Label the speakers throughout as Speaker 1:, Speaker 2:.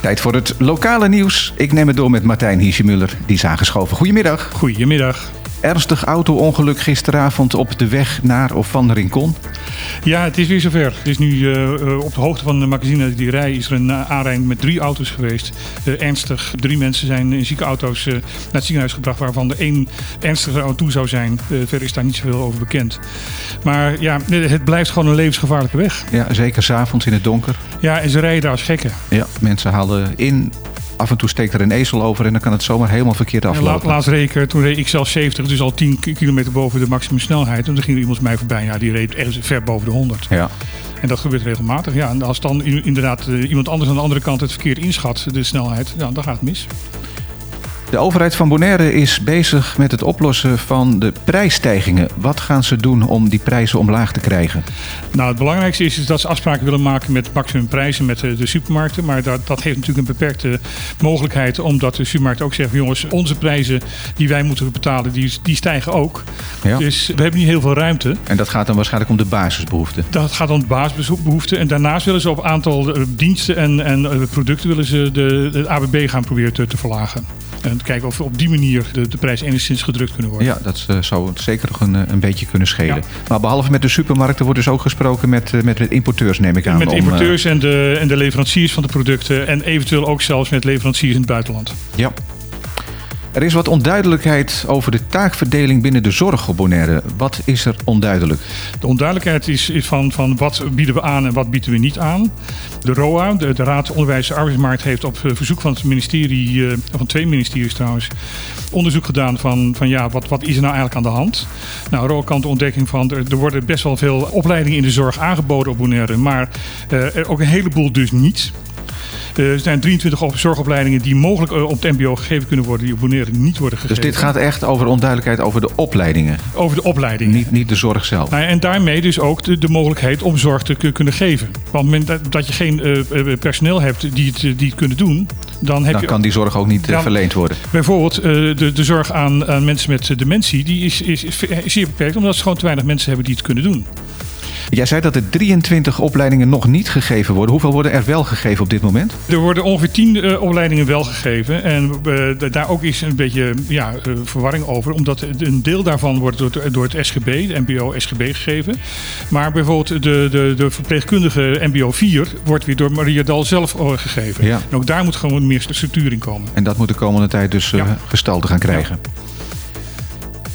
Speaker 1: Tijd voor het lokale nieuws. Ik neem het door met Martijn Hiesjemuller, die is aangeschoven. Goedemiddag.
Speaker 2: Goedemiddag.
Speaker 1: Ernstig auto-ongeluk gisteravond op de weg naar of van Rincon.
Speaker 2: Ja, het is weer zover. Het is nu eh, op de hoogte van de magazine die rij is er een eh, aanrijding met drie auto's geweest. Eh, ernstig. Drie mensen zijn in zieke auto's eh, naar het ziekenhuis gebracht, waarvan de één ernstiger aan toe zou zijn. Eh, verder is daar niet zoveel over bekend. Maar ja, eh, het blijft gewoon een levensgevaarlijke weg.
Speaker 1: Ja, zeker s'avonds in het donker.
Speaker 2: Ja, en ze rijden daar als gekken.
Speaker 1: Ja, mensen halen in. Af en toe steekt er een ezel over en dan kan het zomaar helemaal verkeerd
Speaker 2: En la-
Speaker 1: aflopen.
Speaker 2: laatst reken, toen reed ik zelf 70, dus al 10 kilometer boven de maximum snelheid. En toen ging er iemand mij voorbij. Ja, die reed echt ver boven de 100.
Speaker 1: Ja,
Speaker 2: En dat gebeurt regelmatig. Ja, en als dan i- inderdaad eh, iemand anders aan de andere kant het verkeerd inschat, de snelheid, nou, dan gaat het mis.
Speaker 1: De overheid van Bonaire is bezig met het oplossen van de prijsstijgingen. Wat gaan ze doen om die prijzen omlaag te krijgen?
Speaker 2: Nou, het belangrijkste is, is dat ze afspraken willen maken met maximumprijzen met eh, de supermarkten. Maar dat, dat heeft natuurlijk een beperkte mogelijkheid, omdat de supermarkt ook zegt: jongens, onze prijzen die wij moeten betalen, die, die stijgen ook.
Speaker 1: Ja.
Speaker 2: Dus we hebben niet heel veel ruimte.
Speaker 1: En dat gaat dan waarschijnlijk om de basisbehoeften.
Speaker 2: Dat gaat om de basisbehoeften. En daarnaast willen ze op aantal eh, diensten en, en eh, producten willen ze de, het ABB gaan proberen te, te verlagen. En kijken of we op die manier de, de prijs enigszins gedrukt kunnen worden.
Speaker 1: Ja, dat eh, zou het zeker nog een, eh, een beetje kunnen schelen.
Speaker 2: Ja.
Speaker 1: Maar behalve met de supermarkten wordt dus ook gesproken met, eh, met, met importeurs, neem ik aan.
Speaker 2: Met de
Speaker 1: om, eh,
Speaker 2: importeurs en de, en de leveranciers van de producten. En eventueel ook zelfs met leveranciers in het buitenland.
Speaker 1: eh, ja. Er is wat onduidelijkheid over de taakverdeling binnen de zorg op Bonaire. Wat is er onduidelijk? Dus
Speaker 2: De onduidelijkheid is, is van, van wat bieden we aan en wat bieden we niet aan. De ROA, de, de Raad Onderwijs en Arbeidsmarkt, heeft op eh, verzoek van het ministerie, eh, van twee ministeries trouwens, onderzoek gedaan van, van ja, wat, wat is er nou eigenlijk aan de hand? Nou, ROA kan de ontdekking van, er, er worden best wel veel opleidingen in de zorg aangeboden op Bonaire, maar eh, er ook een heleboel dus niet. Eh, er zijn 23 op- zorgopleidingen die mogelijk eh, op het MBO gegeven kunnen worden, die op Bonaire niet worden
Speaker 1: Dus
Speaker 2: gegeven.
Speaker 1: dit gaat echt over onduidelijkheid over de opleidingen,
Speaker 2: over de opleiding.
Speaker 1: niet, niet de zorg zelf.
Speaker 2: Nou ja, en daarmee dus ook de, de mogelijkheid om zorg te ku- kunnen geven. Want op het moment dat- dat je geen eh, eh, personeel hebt die het, eh, die het kunnen doen, dan heb
Speaker 1: Dan
Speaker 2: je
Speaker 1: kan die zorg ook niet eh,
Speaker 2: Ja.
Speaker 1: verleend worden.
Speaker 2: bijvoorbeeld eh, de, de zorg aan, aan mensen met eh, dementie, die is, is, is zeer beperkt, omdat ze gewoon te weinig mensen hebben die het kunnen doen.
Speaker 1: Jij zei dat er 23 opleidingen nog niet gegeven worden. Hoeveel worden er wel gegeven op dit moment?
Speaker 2: Er worden ongeveer tien eh, opleidingen wel gegeven. En eh, da- daar ook is een beetje ja, eh, verwarring over. Omdat een deel daarvan wordt door, het- door het SGB, de MBO-SGB gegeven. Maar bijvoorbeeld de, de, de verpleegkundige MBO 4 wordt weer door Maria Dal zelf eh, gegeven.
Speaker 1: Ja.
Speaker 2: En ook daar moet gewoon meer structuur in komen.
Speaker 1: En dat moet de komende tijd dus eh,
Speaker 2: Ja.
Speaker 1: gestalte gaan krijgen.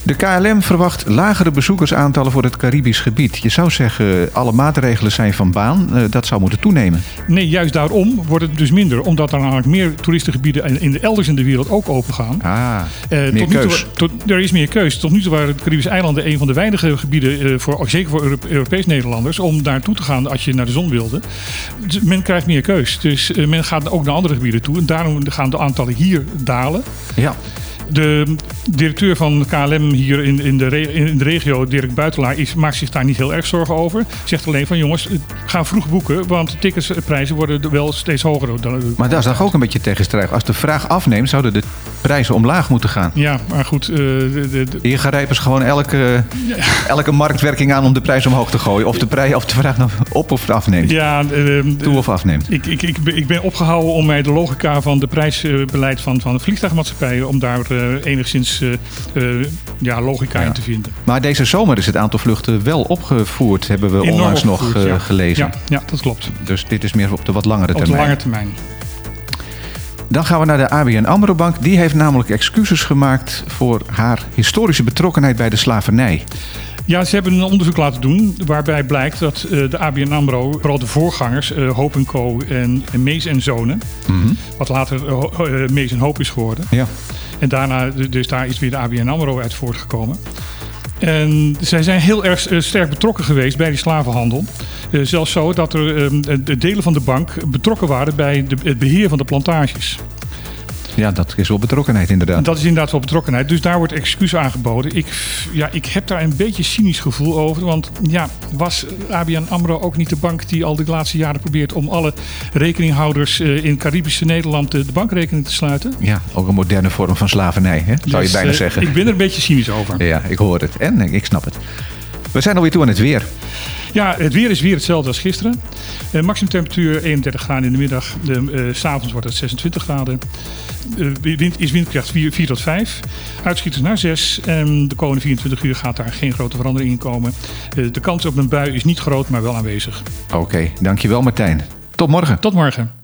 Speaker 1: De KLM verwacht lagere bezoekersaantallen voor het Caribisch gebied. Je zou zeggen, alle maatregelen zijn van baan. Eh, dat zou moeten toenemen.
Speaker 2: Nee, juist daarom wordt het dus minder. Omdat er namelijk meer toeristengebieden in, in de elders in de wereld ook opengaan.
Speaker 1: Ah,
Speaker 2: Eh,
Speaker 1: meer
Speaker 2: tot nu toe-
Speaker 1: keus.
Speaker 2: tot, er is meer keus. Tot nu toe waren de Caribische eilanden een van de weinige gebieden, eh, voor, zeker voor Europe- Europees Nederlanders, om naartoe te gaan als je naar de zon wilde. Dus men krijgt meer keus. Dus eh, men gaat ook naar andere gebieden toe. En daarom gaan de aantallen hier dalen.
Speaker 1: Ja,
Speaker 2: De mm, directeur van KLM hier in, in, de, re- in de regio, Dirk Buitelaar, is, maakt zich daar niet heel erg zorgen over. Zegt alleen van jongens, eh, ga vroeg boeken, want de ticketsprijzen worden wel steeds hoger. Dan,
Speaker 1: maar daar is toch ook een beetje tegenstrijdig. Als de vraag afneemt, zouden de prijzen omlaag moeten gaan.
Speaker 2: Ja, maar goed. eh, de, de- de-
Speaker 1: Hier grijpen ze gewoon elke, elke marktwerking aan om de prijs omhoog te gooien. Of de, prij, of de vraag nou op of afneemt.
Speaker 2: ja, eh,
Speaker 1: Toe of afneemt.
Speaker 2: Ik, ik, ik, ben- ik ben opgehouden om mij de logica van de prijsbeleid van, van de vliegtuigmaatschappijen... om daar eh, enigszins eh, eh, ja, logica
Speaker 1: Ja.
Speaker 2: in te vinden.
Speaker 1: Maar deze zomer is het aantal vluchten wel opgevoerd, hebben we
Speaker 2: Enorm
Speaker 1: onlangs nog
Speaker 2: opgevoerd,
Speaker 1: eh,
Speaker 2: ja.
Speaker 1: gelezen.
Speaker 2: Ja, ja, dat klopt.
Speaker 1: Dus dit is meer op de wat langere
Speaker 2: Op de
Speaker 1: termijn.
Speaker 2: lange termijn.
Speaker 1: Dan gaan we naar de ABN AMRO Bank. Die heeft namelijk excuses gemaakt voor haar historische betrokkenheid bij de slavernij.
Speaker 2: Ja, ze hebben een onderzoek laten doen waarbij blijkt dat eh, de ABN AMRO... vooral de voorgangers, eh Hoop Co. en, en Mees en Zonen... wat later eh, Ho- eh, Mees en Hoop is geworden...
Speaker 1: Ja.
Speaker 2: En daarna, dus daar is weer de ABN AMRO uit voortgekomen. En zij zijn heel erg eh, sterk betrokken geweest bij die slavenhandel. Eh, zelfs zo dat er ehm, de delen van de bank betrokken waren bij de, het beheer van de plantages.
Speaker 1: ja, dat is wel betrokkenheid inderdaad.
Speaker 2: En dat is inderdaad wel betrokkenheid. Dus daar wordt excuus aangeboden. Ik, ja, ik heb daar een beetje cynisch gevoel over. Want ja, was eh, ABN AMRO ook niet de bank die al de laatste jaren probeert... om alle rekeninghouders eh, in Caribische Nederland de, de bankrekening te sluiten?
Speaker 1: Ja, ook een moderne vorm van slavernij, hè? zou je
Speaker 2: Dus,
Speaker 1: bijna
Speaker 2: eh,
Speaker 1: zeggen.
Speaker 2: Ik ben er een beetje cynisch over.
Speaker 1: eh, Ja, ik hoor het en ik snap het. We zijn alweer toe aan het weer.
Speaker 2: Ja, het weer is weer hetzelfde als gisteren. Eh, maximumtemperatuur 31 graden in de middag. De, eh, 's S'avonds wordt het 26 graden. Eh, wind, is windkracht 4, 4 tot 5. Uitschieters naar 6. En de komende 24 uur gaat daar geen grote verandering in komen. Eh, de kans op een bui is niet groot, maar wel aanwezig.
Speaker 1: Oké, dankjewel Martijn. Tot morgen.
Speaker 2: Tot morgen.